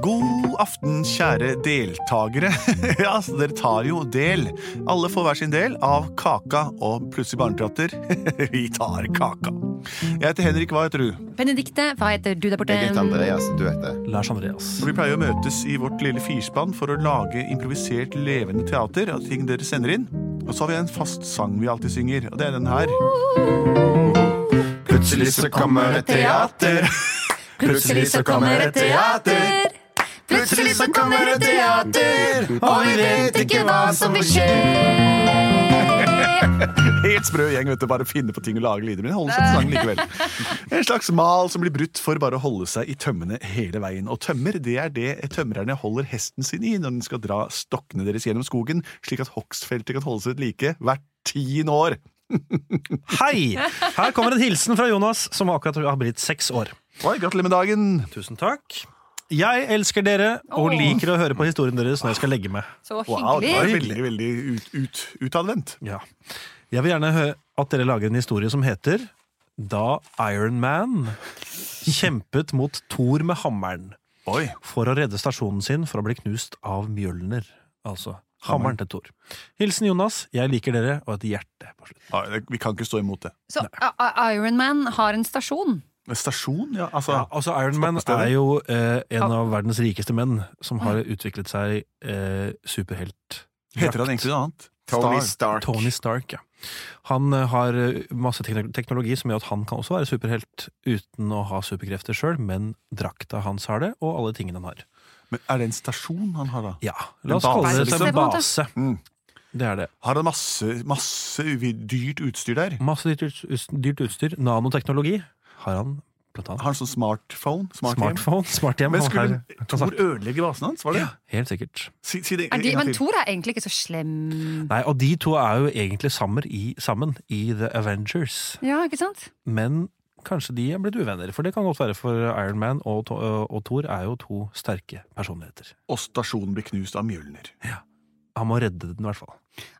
God aften, kjære deltakere. ja, så dere tar jo del. Alle får hver sin del av kaka og plutselig barneteater. Vi tar kaka. Jeg heter Henrik, hva heter du? Benedikte, hva heter du der borte? Jeg heter Andreas, du vet det. Lars Andreas. Vi pleier å møtes i vårt lille firspann for å lage improvisert levende teater av ting dere sender inn. Og så har vi en fast sang vi alltid synger, og det er den her. Plutselig så kommer et teater. Plutselig så kommer et teater. Plutselig så kommer et teater, og vi vet ikke hva som vil skje. Helt sprø gjeng, vet du. Bare finne på ting og lage lyder. Men holde seg til sangen likevel. En slags mal som blir brutt for bare å holde seg i tømmene hele veien. Og tømmer, det er det tømrerne holder hesten sin i når den skal dra stokkene deres gjennom skogen, slik at hogstfeltet kan holde seg ved like hvert tiende år. Hei! Her kommer en hilsen fra Jonas, som akkurat har blitt seks år. Oi, gratulerer med dagen. Tusen takk. Jeg elsker dere og Åh. liker å høre på historien deres når jeg skal legge meg. Så Wow, det var hyggelig. veldig, veldig ut, ut, utadvendt. Ja. Jeg vil gjerne høre at dere lager en historie som heter Da Iron Man kjempet mot Thor med hammeren Oi. for å redde stasjonen sin fra å bli knust av Mjølner. Altså hammeren til Thor. Hilsen Jonas. Jeg liker dere, og et hjerte på slutt. Oi, det- Vi kan ikke stå imot det. Så Ironman har en stasjon. Stasjon, ja. Altså, Ja, altså Iron Man Stoppestedet. er jo eh, en av verdens rikeste menn som har utviklet seg eh, superhelt. heter han egentlig noe annet? Tony Star. Stark. Tony Stark, ja. Han eh, har eh, masse tekno- teknologi som gjør at han kan også være superhelt uten å ha superkrefter sjøl, men drakta hans har det, og alle tingene han har. Men er det en stasjon han har, da? Ja, En La oss base, kalle det liksom. en base. Mm. Det er det. Har han masse, masse uvi- dyrt utstyr der? Masse dyrt, ut- dyrt utstyr. Nanoteknologi har han, blant Har annet. han sånn smartphone? Smarthjem? Smartphone, smarthjem. Men han skulle har- han Thor snakker- ødelegge basen hans? Var det? Ja, helt sikkert. Si, si det Er en de, gang men til. Thor er egentlig ikke så slem. Nei, og de to er jo egentlig sammen i, sammen i The Avengers, Ja, ikke sant? men kanskje de er blitt uvenner. For det kan godt være, for Iron Man og, To- og Thor er jo to sterke personligheter. Og stasjonen blir knust av Mjølner. Han må redde den, i hvert fall.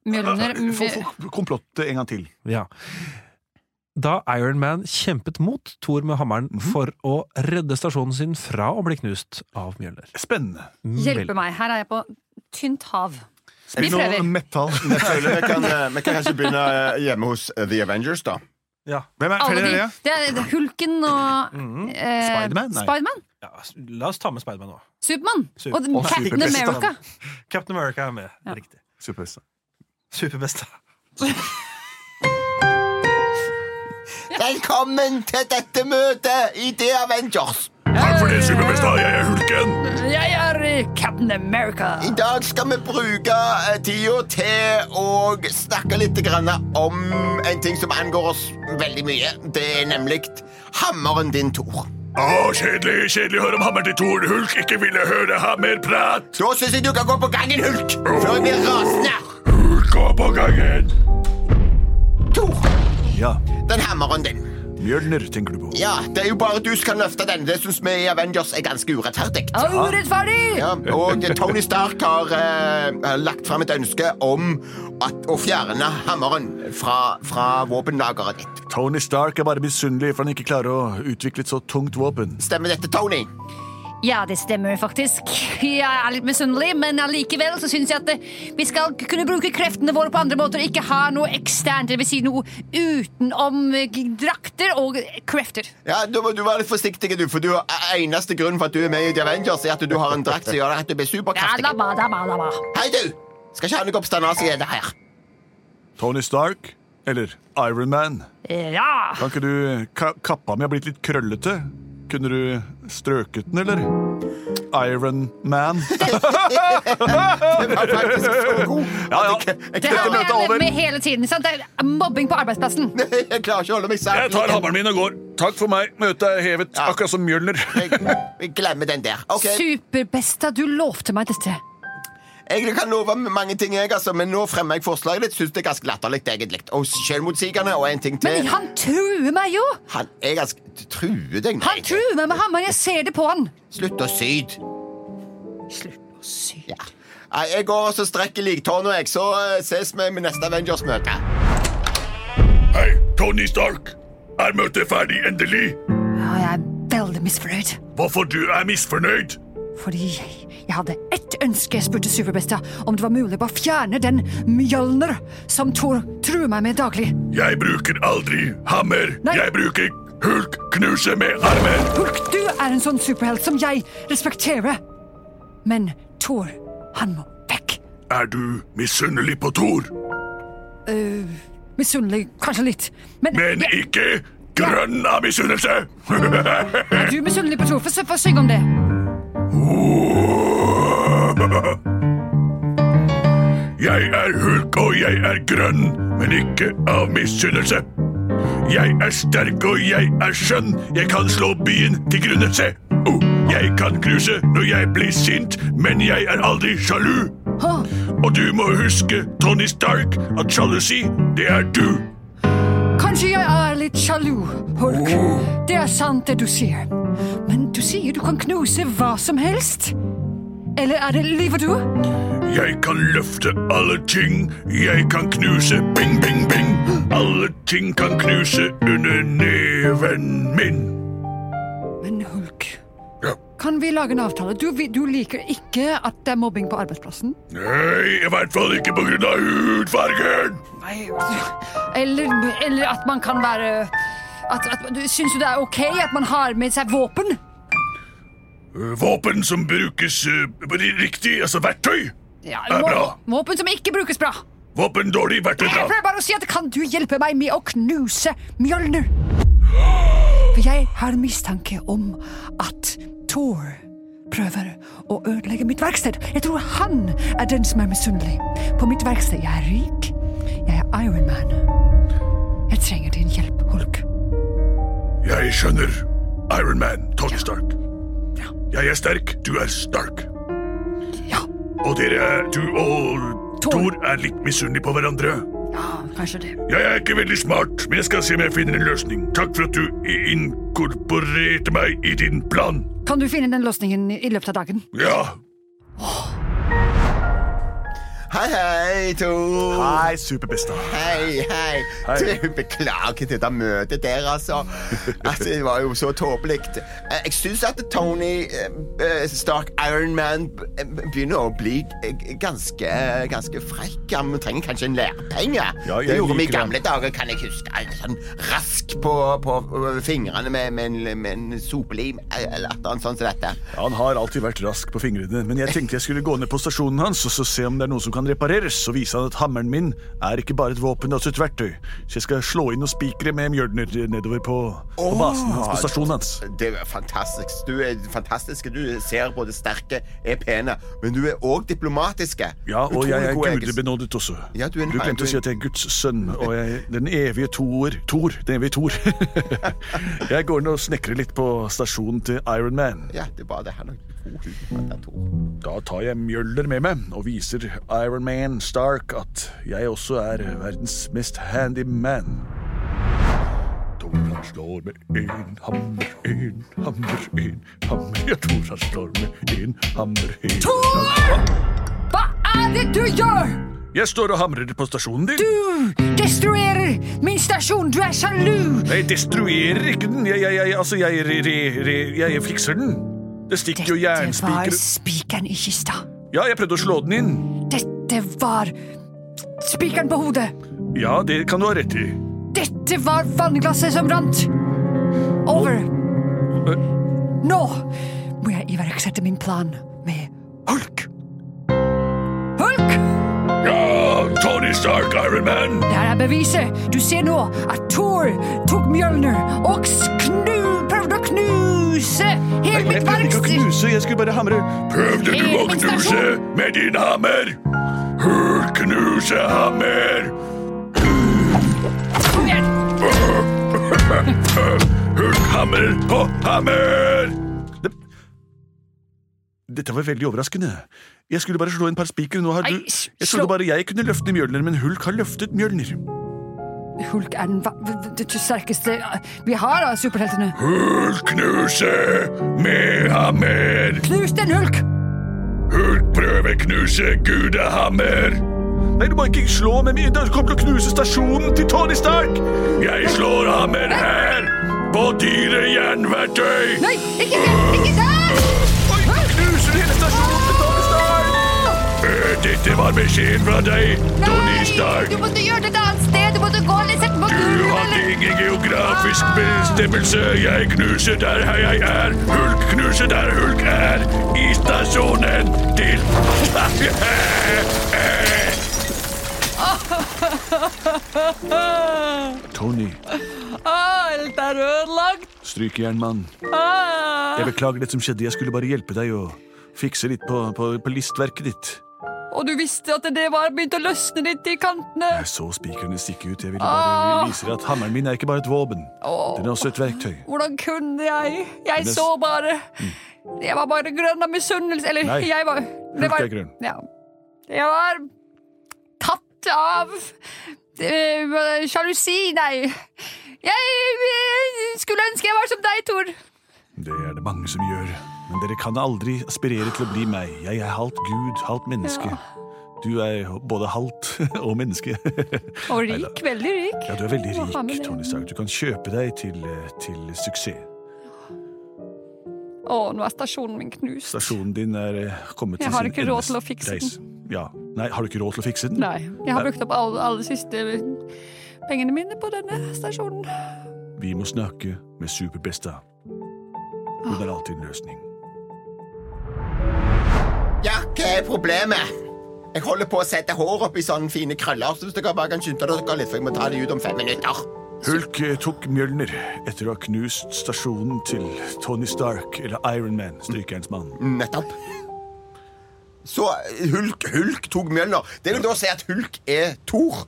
Mjølner Få få komplottet en gang til. Ja. Da Iron Man kjempet mot Thor med hammeren for å redde stasjonen sin fra å bli knust av Mjølner. Spennende. Hjelpe meg, her er jeg på tynt hav. Vi Noe prøver. Metall. Jeg føler vi kan, eh, vi kan kanskje begynne eh, hjemme hos eh, The Avengers, da. Ja. Hvem er Alle flere de, dere? det er det er Hulken og eh, Mm-hmm. Spiderman? Nei. Spiderman? ja, la oss ta med Spiderman nå. Supermann? Super- Og og Captain Superpresident. America? Captain America er med. Ja. Riktig. Superbeste. Superbeste. Velkommen til dette møtet i The Avengers. Takk for det, superbeste. Jeg er hulken. Jeg er eh, Captain America! I dag skal vi bruke eh, tida til å snakke litt grann om en ting som angår oss veldig mye. Det er nemlig hammeren din, Tor. Å, kjedelig, kjedelig å høre om hammeren til Thor Hulk. Ikke ville høre hammerprat. Da syns jeg du kan gå på gangen, Hulk, før jeg blir rasende. Gå på gangen. Tor, Ja, den hammeren din. Mjølner tenker du på. Ja, det er jo bare du som kan løfte den. Det syns vi i Avengers er ganske urettferdig. Urettferdig! Ja, og eh, Tony Stark har eh, lagt fram et ønske om at, å fjerne hammeren fra, fra våpenlageret ditt. Tony Stark er bare misunnelig for han ikke klarer å utvikle et så tungt våpen. Stemmer dette, Tony? Ja, det stemmer faktisk. Jeg er litt misunnelig, men allikevel så syns jeg at eh, vi skal k- kunne bruke kreftene våre på andre måter og ikke ha noe eksternt, dvs. Si noe utenom eh, g- drakter og eh, krefter. Ja, Du må du være litt forsiktig, du, for du eneste grunnen for at du er med i The Avengers, er at du har en drakt som gjør at du blir Ja, superkraftig. da ba, da ba, da ba. Hei, du! Skal ikke ha noe oppstandelse i det her. Tony Stark, eller Iron Man. Ja! Kan ikke du ka Kappa mi har blitt litt krøllete. Kunne du strøket den, eller? Iron Man. Det var faktisk så god. Ja, ja. Det her Dette møtet må jeg er leve over. med hele tiden. sant? Det er mobbing på arbeidsplassen. Jeg klarer ikke å holde meg Jeg tar hammeren min og går. Takk for meg. Møtet er hevet, Ja. akkurat som Mjølner. Jeg glemmer den der. Ok, Superbesta, du lovte meg dette. Jeg kan love mange ting, jeg, altså, men nå fremmer jeg forslaget ditt. Synes det er ganske latterlig, egentlig. Og selvmotsigende. Og en ting Men til. han truer meg jo! Han er ganske Truer deg, Han nei. truer meg med hammeren. Jeg ser det på han. Slutt å syde. Slutt å sy. Ja. Nei, Jeg går og så strekker liktårnet, jeg. Så eh, ses vi med neste Avengers-møte. Hei, Tony Stark. Er møtet ferdig endelig? Ja, jeg er veldig misfornøyd. Hvorfor du er misfornøyd? Fordi jeg, jeg hadde ett ønske jeg spurte Superbesta om det var mulig å bare fjerne den mjølner som Thor truer meg med daglig. Jeg bruker aldri hammer. Nei. Jeg bruker hulkknuse med armen. Hulk, du er en sånn superhelt som jeg respekterer. Men Thor, han må vekk. Er du misunnelig på Thor? Uh, Misunnelig, kanskje litt. Men, Men ikke grønn av misunnelse. er du misunnelig på Thor? Få få synge om det. Jeg er hulk og jeg er grønn, men ikke av misunnelse. Jeg er sterk og jeg er skjønn, jeg kan slå byen til grunne, se. Oh, jeg kan knuse når jeg blir sint, men jeg er aldri sjalu. Hå, Og du må huske, Tony Stark, at sjalusi, det er du. kanskje jeg er litt sjalu, Hulk. Det er sant det du sier. Men du sier du kan knuse hva som helst. Eller er det lyver du? Jeg kan løfte alle ting. Jeg kan knuse bing, bing, bing. Alle ting kan knuse under neven min. Men Hulk, Ja. kan vi lage en avtale? Du, vi- du liker ikke at det er mobbing på arbeidsplassen? Nei, i hvert fall ikke på grunn av hudfargen. Nei. Eller, eller at man kan være at, at, du- Syns du det er ok at man har med seg våpen? Eh, Våpen som brukes eh, ri- riktig, altså verktøy. Ja, Det er vå- bra. Våpen som ikke brukes bra. Våpen dårlig, verktøy Jeg bra. prøver bare å si at Kan du hjelpe meg med å knuse Mjølner? For jeg har mistanke om at Thor prøver å ødelegge mitt verksted. Jeg tror han er den som er misunnelig. På mitt verksted jeg er rik. Jeg er Ironman. Jeg trenger din hjelp, Hulk. Jeg skjønner. Iron Man, Tony Stark. Ja. Jeg er sterk, du er stark. Ja, Og dere, er- du og Thor. Thor er litt misunnelige på hverandre. ja kanskje det. Jeg er ikke veldig smart, men jeg skal se om jeg finner en løsning. Takk for at du i- inkorporerte meg i din plan. Kan du finne den løsningen i løpet av dagen? Ja, Hei, hei, Tor. Nei, superbesta. Hei, hei. Du, beklager det der møtet der, altså. altså det var jo så tåpelig. Eh, Jeg syns at Tony eh, eh, Stark Ironman begynner å bli eh, ganske, eh, ganske frekk. Han trenger kanskje en lærepenge. Ja, jeg det gjorde vi i liker gamle dager, kan jeg huske. Eh, Sånn rask på, på øh, fingrene med, med, en, med en sopelim eh, eller et eller annet sånt som dette. Han har alltid vært rask på fingrene, men jeg tenkte jeg skulle gå ned på stasjonen hans og så se om det er noe som kan repareres, og vise han at hammeren min er ikke bare et våpen, det er også et verktøy. Så jeg skal slå inn noen spikere med mjølner nedover på, på basen hans, på stasjonen hans. Det er fantastisk. Du er fantastisk. Du ser både sterke, er pene, men du er òg diplomatiske. Ja, og Utrolig jeg er gode egenskaper. gudebenådet også. Ja, du er en glemte å si at jeg er Guds sønn, og jeg den evige toer Tor. Den evige Tor. jeg går ned og snekrer litt på stasjonen til Iron Man. Ja, det var det her. Da tar jeg mjøller med meg og viser Iron Man Stark at jeg også er verdens mest handy man. Tor han slår med en hammer, en hammer, en hammer. Ja, Tor han slår med en hammer, en hammer. Hva er det du gjør? Jeg står og hamrer på stasjonen din. Du destruerer min stasjon! Du er sjalu! Jeg destruerer ikke den. Jeg, jeg, jeg, altså, jeg, re, re, re, jeg fikser den. Det stikker jo Dette var jernspiker spikeren i kista. Ja, jeg prøvde å slå den inn. Dette var spikeren på hodet. Ja, det kan du ha rett i. Dette var vannglasset som rant. Over. Nå må jeg iverksette min plan med Hulk. Hulk! ja Tony Stark, Iron Man. Der er beviset. Du ser nå at Thor tok Mjølner og s- knu, prøvde å knuse hele mitt verksted. knuse, jeg skulle bare hamre. Prøvde du å Min knuse stasjon. med din hammer? Hulknusehammer. Kom igjen. Hulkhammer på hammer. Dette var veldig overraskende. Jeg skulle bare slå en par spiker. Nå har du Nei, s- Jeg slå- trodde bare jeg kunne løfte mjølner, men Hulk har løftet mjølner. Hulk er den va- det sterkeste vi har av superheltene. Hulknuse med hammer. Knus den, Hulk! Hulk prøver knuse gudehammer. Nei, du må ikke slå med mjølner. Du kommer til å knuse stasjonen til Tony Stark! Jeg slår hammer her på dyre jernverktøy. Nei, ikke der! Ikke der! Knuser var beskjeden fra deg, Tony Nei! Stark. Du måtte gjøre det et annet sted! Du måtte gå litt sett på Du gulvet! hadde eller- ingen geografisk bestemmelse. Jeg knuser der hei, jeg er. Hulk knuser der Hulk er. I stasjonen til Tony, Ah, Alt er ødelagt! strykjernmann. Ah. Jeg beklager det som skjedde. Jeg skulle bare hjelpe deg å fikse litt på, på, på listverket ditt. Og du visste at det var begynt å løsne litt i kantene. Jeg så spikerne stikke ut. Jeg ville bare vise deg at hammeren min er ikke bare et våpen. Den er også et verktøy. Hvordan kunne jeg? Jeg Det- så bare Jeg var bare grønn av misunnelse. Eller, Mm. Nei, jeg var Hulk det var, er grønn. Ja. Jeg var tatt av eh, sjalusi, nei. Jeg eh, skulle ønske jeg var som deg, Tor. Det er det mange som gjør. Men dere kan aldri aspirere til å bli meg. Jeg er halvt gud, halvt menneske. Du er både halvt og menneske. Og Neida. rik. Veldig rik. Ja, du er veldig Hva faen med rik, det? Tony Stark. Du kan kjøpe deg til, eh, til suksess. Å, nå er stasjonen min knust. Stasjonen din er eh, kommet Jeg til har sin ikke råd til å endes fikse den. reis. Ja. Nei, har du ikke råd til å fikse den? Nei. Jeg har brukt opp alle, alle siste pengene mine på denne stasjonen. Vi må snakke med Superbesta. Hun har alltid en løsning. Ah. Ja, hva er problemet? Jeg holder på å sette håret opp i sånne fine krøller, så hvis dere bare kan skynde dere litt, for jeg må ta det ut om fem minutter. Hulk eh, tok Mjølner etter å ha knust stasjonen til Tony Stark, eller Ironman, strykerens mann. Mm. Nettopp. Så Hulk, Hulk tok Mjølner. Det vil da si at Hulk er Thor.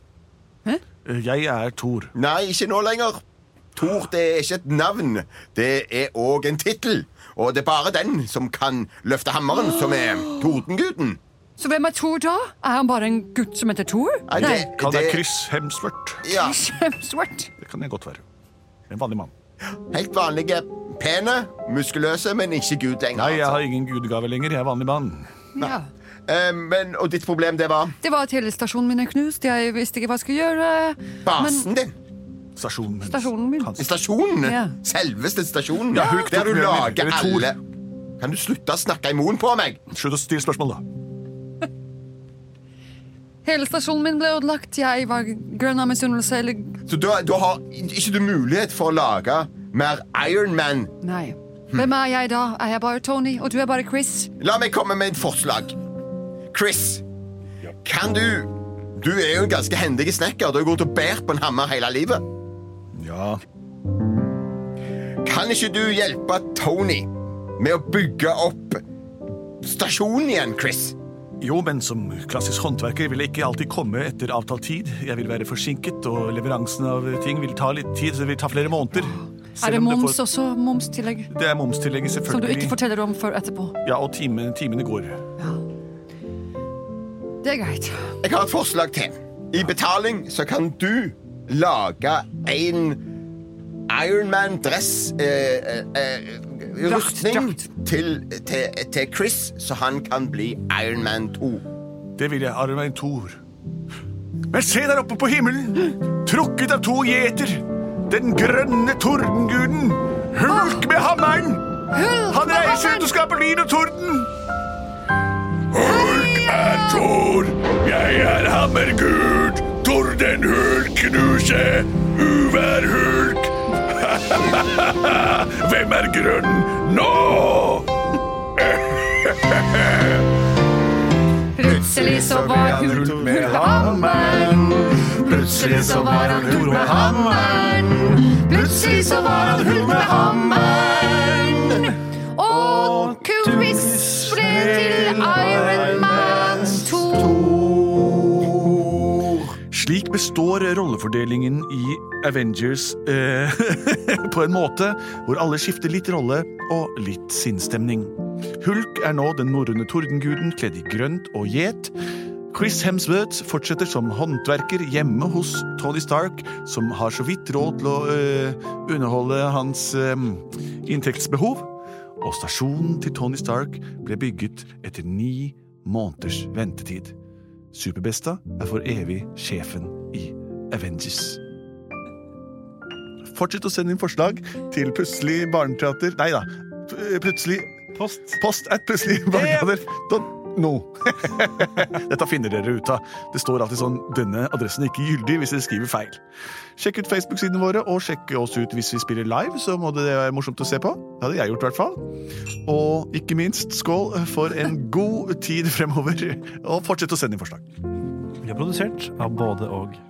Eh, Jeg er Thor. Nei, ikke nå lenger. Thor det er ikke et navn. Det er òg en tittel. Og det er bare den som kan løfte hammeren, som er Tordenguden. Så hvem er Thor da? Er han bare en gutt som heter Thor? Nei, det- Kall deg Chris Hemsworth. Ja, Svart. Det kan jeg godt være. En vanlig mann. helt vanlige, pene, muskuløse, men ikke gud lenger. Nei, jeg altså. har ingen gudegave lenger. Jeg er vanlig mann. Ja. Eh, men, og ditt problem, det var Det var at hele stasjonen min er knust. Jeg visste ikke hva jeg skulle gjøre. basen din. Stasjonen min. Stasjonen min. Hans. Stasjonen. Ja. Selveste stasjonen. Ja, Hulk der tok du Mjølner. lager Eller Thor. alle Kan du slutte å snakke i munnen på meg? Slutt å stille spørsmål, da. Hele stasjonen min ble ødelagt. Jeg var grønn av misunnelse eller Så da, da har ikke du mulighet for å lage mer Ironman. Nei. Hvem er jeg da? Er jeg bare Tony, og du er bare Chris? La meg komme med et forslag. Chris, kan du Du er jo en ganske hendig snekker. Du har gått og båret på en hammer hele livet. Ja. Kan ikke du hjelpe Tony med å bygge opp stasjonen igjen, Chris? Jo, men som klassisk håndverker vil jeg ikke alltid komme etter avtalt tid. Jeg vil være forsinket, og leveransen av ting vil ta litt tid, så det vil ta flere måneder. er det om moms får- også? Momstillegg? Det er momstillegget, selvfølgelig. Som du ikke forteller om før etterpå. Ja, og time, timene går. Det er greit. Jeg har et forslag til. I betaling så kan du lage en Ironman-dress eh, eh, eh, Drakt, Rustning drakt. til, til, til Chris, så han kan bli Ironman 2. Det vil jeg, Arvein Thor. Men se der oppe på himmelen, trukket av to gjeter, den grønne tordenguden, Hulk med hammeren! Han reiser ut og skaper lyn og torden! Hulk er Thor. Jeg er hammergud. Tordenhulk knuse. Uværhulk. Hvem er grønn nå? Plutselig så var hun Hulk med hammeren. Plutselig så var han hull med hammeren. Plutselig så var han hull med hammeren. Og Kubis ble til Iron Man 2. Slik består rollefordelingen i Avengers eh, på en måte hvor alle skifter litt rolle og litt sinnsstemning. Hulk er nå den norrøne tordenguden kledd i grønt og gjet. Chris Hemsworth fortsetter som håndverker hjemme hos Tony Stark, som har så vidt råd til å eh, underholde hans eh, inntektsbehov. Og stasjonen til Tony Stark ble bygget etter ni måneders ventetid. Superbesta er for evig sjefen i Avengers. Fortsett å sende inn forslag til plutselig barneteater Nei da. p- Plutselig Post. post at plutselig barneteater. dot nå. Dette finner dere ut av. Det står alltid sånn 'denne adressen er ikke gyldig' hvis dere skriver feil. Sjekk ut Facebook-sidene våre, og sjekk oss ut hvis vi spiller live. Så må det være morsomt å se på. Det hadde jeg gjort, i hvert fall. Og ikke minst, skål for en god tid fremover. Og fortsett å sende inn forslag. Vi er produsert av både og.